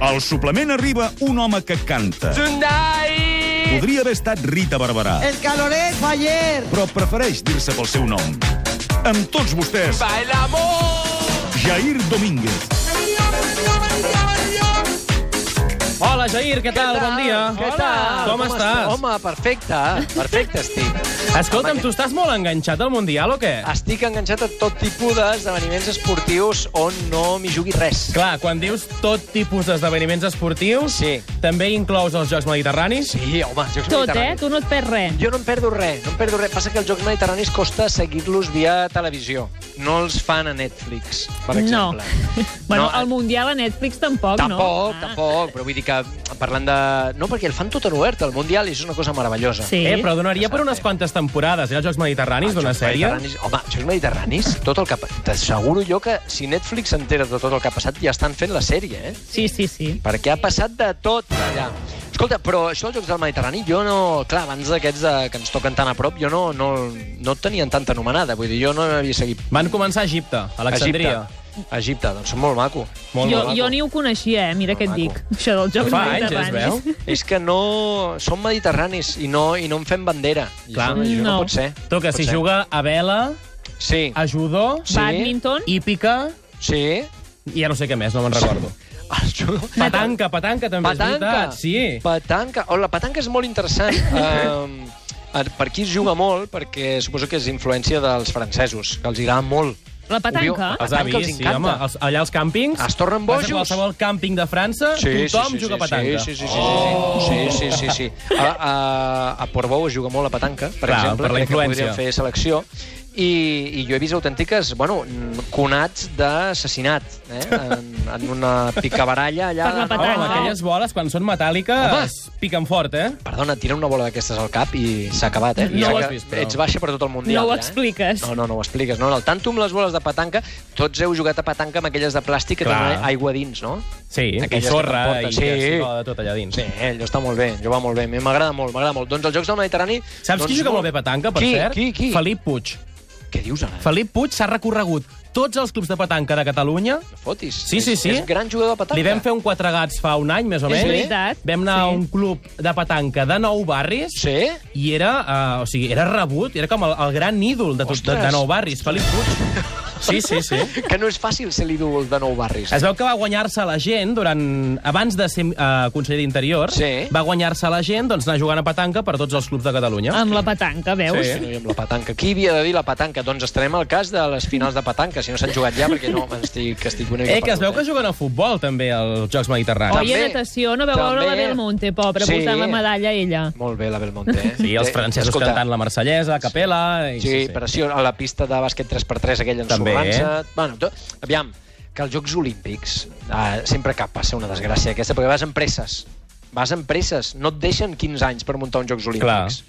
Al suplement arriba un home que canta. Tonight! Podria haver estat Rita Barberà, El caloret fue ayer. però prefereix dir-se pel seu nom. Amb tots vostès, Bailamos! Jair Domínguez. Hola, Jair, què tal? Bon dia. Què tal? Com, estàs? est- Home, perfecte. Perfecte estic. Escolta'm, tu estàs molt enganxat al Mundial o què? Estic enganxat a tot tipus d'esdeveniments esportius on no m'hi jugui res. Clar, quan dius tot tipus d'esdeveniments esportius, Sí. també inclous els Jocs Mediterranis? Sí, home, els Jocs Tot, eh? Mediterranis. Tu no et perds res. Jo no em perdo res, no em perdo res. Passa que els Jocs Mediterranis costa seguir-los via televisió. No els fan a Netflix, per No. exemple. Bueno, No, eh, el Mundial a Netflix tampoc, no? Tampoc, Ah. tampoc, però vull dir que parlant de... No, perquè el fan tot en obert, el Mundial, i és una cosa meravellosa. Sí. Eh, però donaria per unes quantes temporades, eh, els Jocs Mediterranis, d'una sèrie? Ah, Mediterranis, home, Jocs Mediterranis, tot el que... pa- T'asseguro jo que si Netflix s'entera de tot el que ha passat, ja estan fent la sèrie, eh? Sí, sí, sí. perquè ha passat de tot allà. Escolta, però això dels Jocs del Mediterrani, jo no... Clar, abans d'aquests de- que ens toquen tan a prop, jo no, no, no tenien tanta anomenada. Vull dir, jo no havia seguit Van començar a Egipte, a Alexandria. Egipte. Egipte, doncs molt maco. Molt, jo, molt jo maco. ni ho coneixia, eh? Mira què et Maco. dic. Això dels Jocs Fa anys, es Mediterranis. veu. És que no... Som mediterranis i no, i no en fem bandera. I Clar. Això, això no. No. pot ser. Tu, que Pot si ser. juga a vela, Sí. a judó, Sí. Badminton, hípica, Sí. i ja no sé què més, no me'n recordo. El judo... Petanca, petanca, també Petanca. és veritat. Sí. Petanca. Oh, la petanca és molt interessant. um, per aquí es juga molt, perquè suposo que és influència dels francesos, que els agrada molt. la petanca. Obvio. Els ha petanca els vist, sí, encanta. home. Els, allà als càmpings... Es tornen vas a bojos. Qualsevol càmping de França, tothom juga a petanca. Oh. Sí, sí, sí, sí, sí, sí, sí, sí, sí. A, a, a Portbou es juga molt a petanca, per Clar, exemple, per la crec que influència. podrien fer selecció. I, I jo he vist autèntiques, bueno, mm, conats d'assassinat, eh? En, en una picabaralla allà... Per la de- Home, petanca. Oh, amb aquelles boles, quan són metàl·liques, Home. piquen fort, eh? Perdona, tira una bola d'aquestes al cap i s'ha acabat, eh? No I ho ja has que vist, però. Ets baixa per tot el Mundial. No ho ja, eh? expliques. No, no, no ho expliques. No, en el tanto amb les boles de petanca, tots heu jugat a petanca amb aquelles de plàstic que Clar. tenen aigua dins, no? Sí, i Aquelles que sorra, i t'emporten. sí. Sí. de tot allà dins. Sí, allò està molt bé, allò va molt bé. A mi M'agrada molt, m'agrada molt. Doncs els Jocs del Mediterrani... Saps doncs qui juga molt bé a petanca, per qui, cert? Qui, qui? Felip Puig. Què dius, ara? Felip Puig s'ha recorregut tots els clubs de petanca de Catalunya. No fotis. Sí, sí, sí. És, és gran jugador de petanca. Li vam fer un quatre gats fa un any, més o És menys. veritat, Vam anar a sí. un club de petanca de nou barris. Sí? I era, uh, o sigui, era rebut, era com el, el gran ídol de, tot, Doncs de, de Ostres. nou barris, Felip Puig. Sí, sí, sí. Que no és fàcil ser l'ídol de nou barris. Es veu que va guanyar-se la gent durant... Abans de ser eh, conseller d'Interior, Sí. va guanyar-se la gent doncs, anar jugant a petanca per tots els clubs de Catalunya. Ah. Amb la petanca, veus? Sí. Sí, noi, amb la petanca. Qui havia de dir la petanca? Doncs estarem al cas de les finals de petanca, si no s'han jugat ja, perquè no, estic, estic una mica Eh, que es veu que perdut, juguen a futbol, també, als Jocs Mediterranis. Oi. Oi, a També. natació, no veu veure la També. Belmonte, pobra, Sí. portant la medalla ella. eh? Molt bé, la Belmonte. Eh? Sí, els Eh, francesos escolta, cantant la marsellesa, a capella... i Sí, sí, sí, pressió a la pista de bàsquet 3x3, aquella També. ensorrant-se... Bueno, to... aviam, que als Jocs Olímpics eh, sempre cap passa una desgràcia aquesta, perquè vas amb presses. Vas amb presses. No et deixen 15 anys per muntar uns Jocs Olímpics.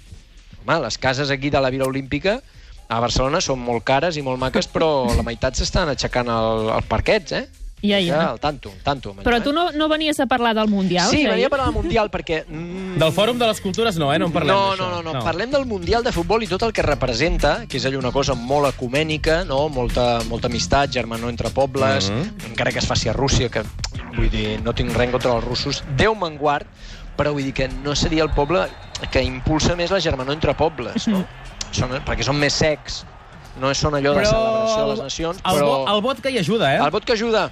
Home, les cases aquí de la Vila Olímpica a Barcelona són molt cares i molt maques, però la meitat s'estan aixecant al, al parquets, eh? Ja, ja. El tanto, el tanto. amb Però allò, tu no, no venies a parlar del Mundial? Sí, Jair? venia a parlar del Mundial perquè... Mm, Del Fòrum de les Cultures no, eh? No en parlem, no, d'això. no, no, no, no, parlem del Mundial de Futbol i tot el que representa, que és allò una cosa molt ecumènica, no? molta, molta amistat, germanor entre pobles, Mm-hmm. encara que es faci a Rússia, que vull dir, no tinc res en contra dels russos, Déu me'n guard, però vull dir que no seria el poble que impulsa més la germanor entre pobles, no? Mm-hmm. Són, perquè són més secs, no són allò de celebració de les nacions, El, però... vo- el vot que hi ajuda, eh? El vot que ajuda.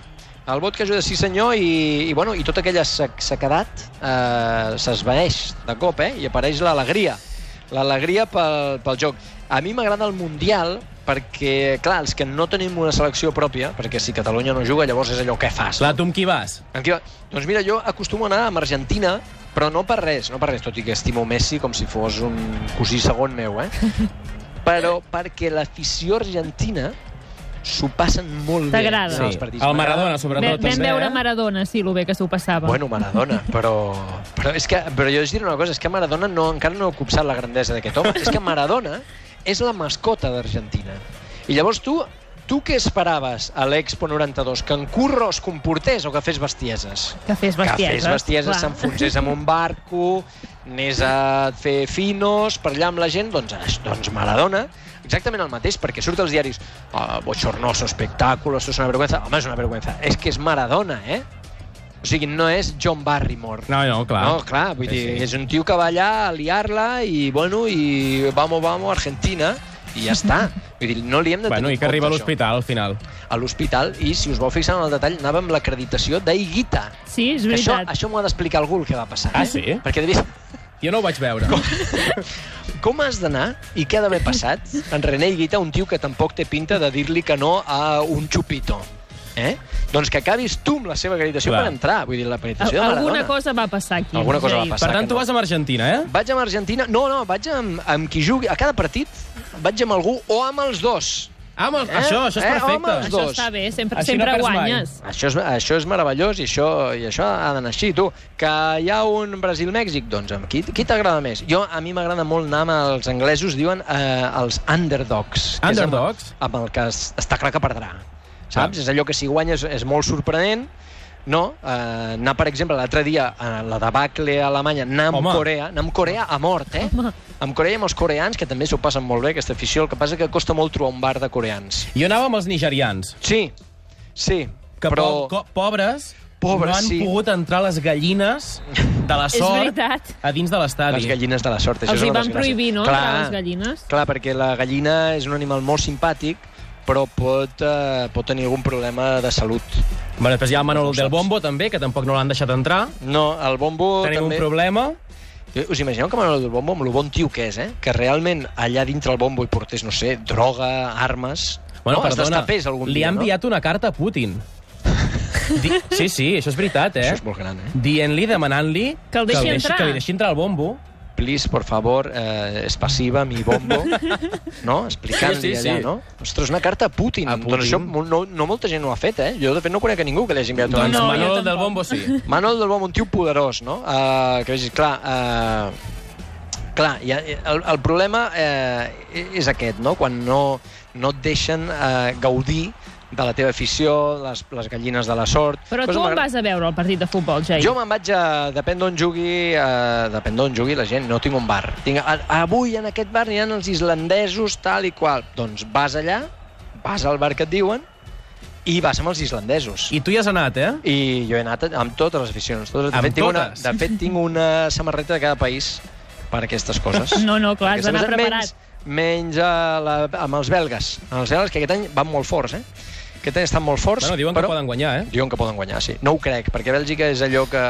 El vot que ajuda, sí senyor, i, i, bueno, i tota aquella sec sequedat eh, s'esvaeix de cop, eh? I apareix l'alegria. L'alegria pel, pel joc. A mi m'agrada el Mundial perquè, clar, els que no tenim una selecció pròpia, perquè si Catalunya no juga, llavors és allò que fas. Clar, tu amb qui vas? Amb qui va? Doncs mira, jo acostumo a anar amb Argentina, però no per res, no per res, tot i que estimo Messi com si fos un cosí segon meu, eh? però perquè l'afició argentina s'ho passen molt bé. T'agrada? en els Sí, partits. el Maradona, Vam, sobretot, vam també, veure eh? Maradona, sí, lo bé que s'ho passava. Bueno, Maradona, però... Però, és que, però jo us diré una cosa, és que Maradona no, encara no ha copsat la grandesa d'aquest home. és que Maradona és la mascota d'Argentina. I llavors tu, tu què esperaves a l'Expo 92? Que en Curro es comportés o que fes bestieses? que fes bestieses. Que fes bestieses, clar. s'enfonsés amb un barco, anés a fer finos, per allà amb la gent, doncs, ah, doncs Maradona, exactament el mateix, perquè surt als diaris ah, bochornoso espectáculo, eso es una vergüenza. Home, és una vergüenza. És que és Maradona, eh? O sigui, no és John Barrymore. No, no, clar. No, clar, vull Sí, dir, sí. és un tio que va allà a liar-la i, bueno, i vamos, vamos, Argentina, i ja està. Vull dir, no li hem de Bueno, i tenir que arriba a compte, això. l'hospital al final. A l'hospital, i si us vau fixar en el detall, anava amb l'acreditació d'Aiguita. Sí, és Que Això, veritat. això m'ho ha d'explicar algú el que va passar. Ah, eh? sí? Perquè devies... Jo no ho vaig veure. Com has d'anar i què ha d'haver passat en René Guita, un tio que tampoc té pinta de dir-li que no a un xupito? Eh? Doncs que acabis tu amb la seva acreditació Clar. per entrar. Vull dir, l'acreditació de Al- Maradona. Alguna cosa va passar aquí. Alguna cosa va Jair. passar. Per tant, que tu no. vas amb Argentina, eh? Vaig amb Argentina... No, no, vaig amb, amb qui jugui. A cada partit vaig amb algú o amb els dos. Ah, amb el... Eh? Això, això és Eh, perfecte. home, els Això dos. està bé, sempre, Així no sempre perds mai. guanyes. Això és, això és meravellós i això, i això ha d'anar així, tu. Que hi ha un Brasil-Mèxic, doncs, amb qui, qui t'agrada més? Jo, a mi m'agrada molt anar amb els anglesos, diuen eh, els underdogs. que és amb- Underdogs? Ah. Amb, el que es, està clar que perdrà, saps? És allò que si guanyes és molt sorprenent, no? Eh, anar, per exemple, l'altre dia a la debacle a Alemanya, anar amb Home. Corea, anar amb Corea a mort, eh? Home. Amb Corea i amb els coreans, que també s'ho passen molt bé, aquesta afició, el que passa que costa molt trobar un bar de coreans. Jo anava amb els nigerians, Sí, sí, que però... po co- pobres, Pobres, no han sí. pogut entrar les gallines de la És sort veritat. a dins de Les l'estadi. gallines de la sort, això Els és hi una van desgràcia. prohibir, no, Clar, entrar les gallines? Clar, perquè la gallina és un animal molt simpàtic, però pot, eh, pot tenir algun problema de salut. Bueno, després hi ha el Manolo No ho del saps. Bombo, també, que tampoc no l'han deixat entrar. No, el bombo Tenim un Oh, també... problema. Eh, Us imagineu que Manolo del Bombo, amb el bon tio que és, eh? que realment allà dintre el bombo hi portés, no sé, droga, armes... Bueno, no, es perdona, destapés algun li dia, ha enviat una carta a Putin. Di sí, sí, això és veritat, no? eh? Això és molt gran, eh? Dient-li, demanant-li... Que el deixi entrar. Que li deixi entrar al bombo. Please, por favor, eh, es passiva, mi bombo, no? Explicant-li Sí, sí, sí. allà, no? Ostres, una carta a Putin. A Doncs això Putin. mo- no, no molta gent ho ha fet, eh? Jo, de fet, no conec a ningú que li hagi enviat una doncs no, jo Manolo tampoc. del Bombo sí. Manuel del Bom, un tio poderós, no? Uh, que vegis, clar... Uh, clar, ja, el, el problema uh, és aquest, no? Quan no, no et deixen uh, gaudir de la teva afició, les, les gallines de la sort... Però Cosa tu on m'agrada. vas a veure el partit de futbol, Jair? Jo me'n vaig a... Depèn d'on jugui, a, depèn d'on jugui la gent, no tinc un bar. Tinc, a, avui en aquest bar hi ha els islandesos, tal i qual. Doncs vas allà, vas al bar que et diuen, i vas amb els islandesos. I tu hi has anat, eh? I jo he anat amb totes les aficions. Totes, de, Amb fet, tinc una, totes? de fet, tinc una samarreta de cada país per aquestes coses. No, no, clar, has Aquesta d'anar cosa, preparat. Menys, menys a la, amb els belgues. Amb els belgues, que aquest any van molt forts, eh? Aquest any estan molt forts, Bueno, diuen però... que poden guanyar, eh? Diuen que poden guanyar, sí. No ho crec, perquè Bèlgica és allò que...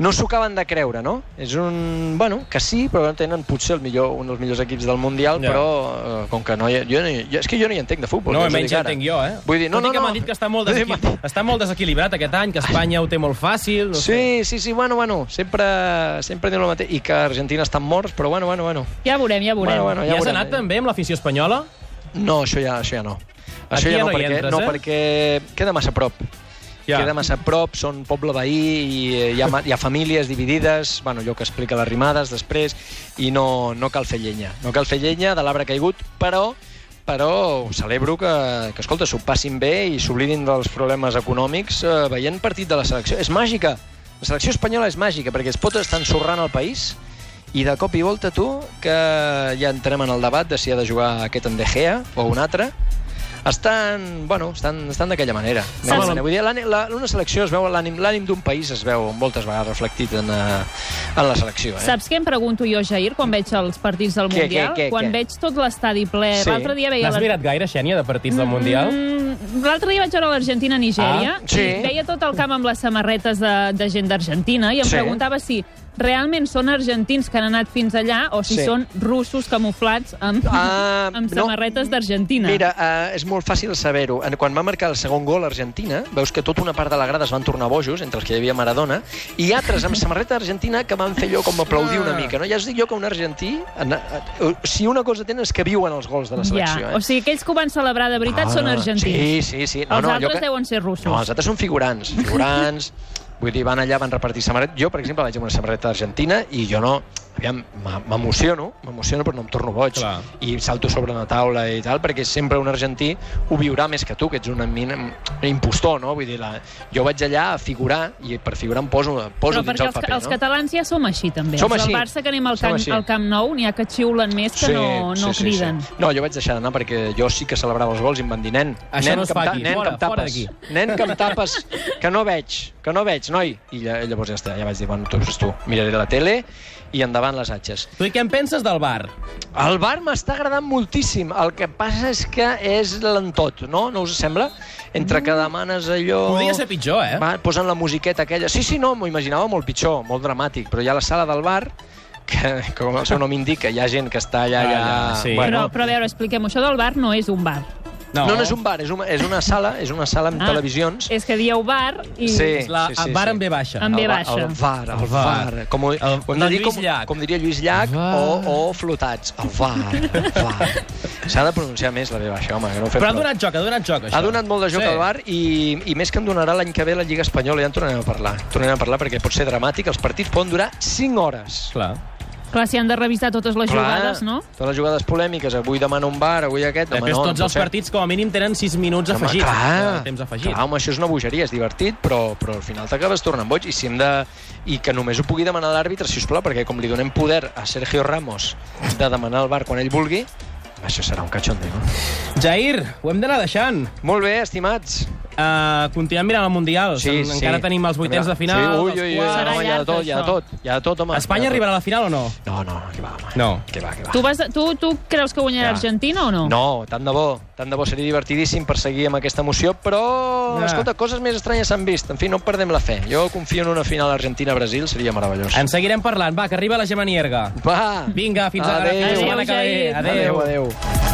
No s'ho acaben de creure, no? És un... Bueno, que sí, però no tenen potser el millor, un dels millors equips del Mundial, Ja. però eh, com que no... hi ha- Jo, no hi- jo, és que jo no hi entenc de futbol. No, ja us ho menys dic ja ara. entenc jo, eh? Vull dir, no, Tot i no, que no. m'han dit que està molt, Vull dir, desequil... està molt desequilibrat aquest any, que Espanya ho té molt fàcil. No Sé. Sí, sí, sí, bueno, bueno, sempre, sempre diuen el mateix. I que Argentina estan morts, però bueno, bueno, bueno. Ja veurem, ja veurem. Bueno, bueno. I ja has veurem, anat eh? també amb l'afició espanyola? No, això ja, això ja no. Aquí Això ja ja no hi perquè, entres, no eh? perquè queda massa a prop. Ja. Queda massa a prop, són poble veí, i eh, hi ha, ma- hi ha famílies dividides, bueno, allò que explica les rimades després, i no, no cal fer llenya. No cal fer llenya de l'arbre caigut, però però celebro que, que escolta, s'ho passin bé i s'oblidin dels problemes econòmics eh, veient partit de la selecció. És màgica. La selecció espanyola és màgica, perquè es pot estar ensorrant el país i de cop i volta tu, que ja entrem en el debat de si ha de jugar aquest en De Gea o un altre, estan, bueno, estan, estan d'aquella manera. Saps- Saps? Vull dir, l'ànim- la- una selecció es veu, l'ànim l'ànim d'un país es veu moltes vegades reflectit en, eh, en la selecció. Eh? Saps què em pregunto jo, Jair, quan veig els partits del Què, Mundial? què, què, quan què? veig tot l'estadi ple... Sí. L'altre dia veia... N'has la- mirat gaire, Xènia, de partits del Mundial? Mm, L'altre dia vaig veure l'Argentina-Nigèria Ah, sí. i veia tot el camp amb les samarretes de, de gent d'Argentina i em Sí. preguntava si realment són argentins que han anat fins allà o si Sí. són russos camuflats amb, Ah, amb no. samarretes d'Argentina. Mira, eh, és molt fàcil saber-ho. En- Quan va marcar el segon gol a Argentina, veus que tota una part de la grada es van tornar bojos, entre els que hi havia Maradona, i altres amb samarreta argentina que van fer allò com aplaudir una Ah. mica. No? Ja us dic jo que un argentí, en- eh, si una cosa tenen és que viuen els gols de la selecció. ja. Eh? Ah, O sigui, aquells que ho van celebrar de veritat són argentins. Sí, sí, sí. No, els no, allò altres que... deuen ser russos. No, els altres són figurants. Figurants, Vull dir, van allà, van repartir samarretes. Jo, per exemple, vaig amb una samarreta argentina i jo no... Aviam, m'e- m'emociono, m'emociono però no em torno boig. Clar. I salto sobre la taula i tal, perquè sempre un argentí ho viurà més que tu, que ets una mina, un impostor, no? Vull dir, la... jo vaig allà a figurar i per figurar em poso, poso Però dins perquè el els, paper, els no? catalans ja som així, també. Som Els del així. Barça que anem al Som camp, així. al camp Nou, n'hi ha que xiulen més que no, no criden. Sí. No, jo vaig deixar d'anar perquè jo sí que celebrava els gols i em van dir, nen, Això nen, no es que em fa ta- aquí. nen Fora, que em fora tapes, d'aquí. nen que em tapes, que no veig, que no veig, noi. I lla- llavors ja està, ja vaig dir, bueno, tu, doncs tu, miraré la tele i endavant les atxes. Tu i què en penses del bar? El bar m'està agradant moltíssim. El que passa és que és lentot, no? No us sembla? Entre que demanes allò... Podria ser pitjor, eh? Va, posen la musiqueta aquella. Sí, sí, no, m'ho imaginava molt pitjor, molt dramàtic, però hi ha la sala del bar, que, que com el seu nom indica, hi ha gent que està allà... allà... Ah, ja, sí. Però, Bueno, però a veure, expliquem això del bar no és un bar. no. no, no és un bar, és una, és una sala, és una sala amb Ah, televisions. És que dieu bar i... Sí. La, sí, sí, bar sí. amb B baixa. Amb- El va- baixa. El VAR, el VAR. VAR. Com, ho, El- ho hem no, de dir Lluís com, Llach. com diria Lluís Llach VAR. o, o flotats. El VAR, el VAR. S'ha de pronunciar més la B baixa, home, que no ho fem Però ha prou. donat joc, ha donat joc, això. Ha donat molt de joc sí. al bar i, i més que en donarà l'any que ve la Lliga Espanyola, ja en tornarem a parlar. Tornarem a parlar perquè pot ser dramàtic, els partits poden durar 5 hores. Clar. Clar, s'hi han de revisar totes les Clar, jugades, no? Totes les jugades polèmiques, avui demana un bar, avui aquest... Després no, tots no els partits com a mínim tenen 6 minuts Home, afegits. clar, de Temps afegit. Clar, home, això és una bogeria, és divertit, però, però al final t'acabes tornant boig i si hem de... i que només ho pugui demanar l'àrbitre, si us plau, perquè com li donem poder a Sergio Ramos de demanar el bar quan ell vulgui, això serà un cachondeo. Jair, ho hem d'anar deixant. Molt bé, estimats. Uh, continuem mirant el Mundial. En- Encara tenim els vuitens de final. Sí, ui, els ui, ui, quarts. Serà no, hi ha de llarg, tot, hi ha de això. tot, hi ha de tot, home. Espanya Hi ha de tot. arribarà a la final o no? No, no, que va, home. No. Que va, que va. Tu, vas, tu, tu creus que guanyarà Ja. Argentina o no? No, tant de bo, tant de bo seria divertidíssim perseguir amb aquesta emoció, però, Ja. escolta, coses més estranyes s'han vist. En fi, no perdem la fe. Jo confio en una final Argentina-Brasil, seria meravellós. En seguirem parlant. Va, que arriba la Gemma Nierga. Va! Vinga, fins Adéu. ara. Fins la setmana que ve. Adéu, Jair. Adéu, adéu.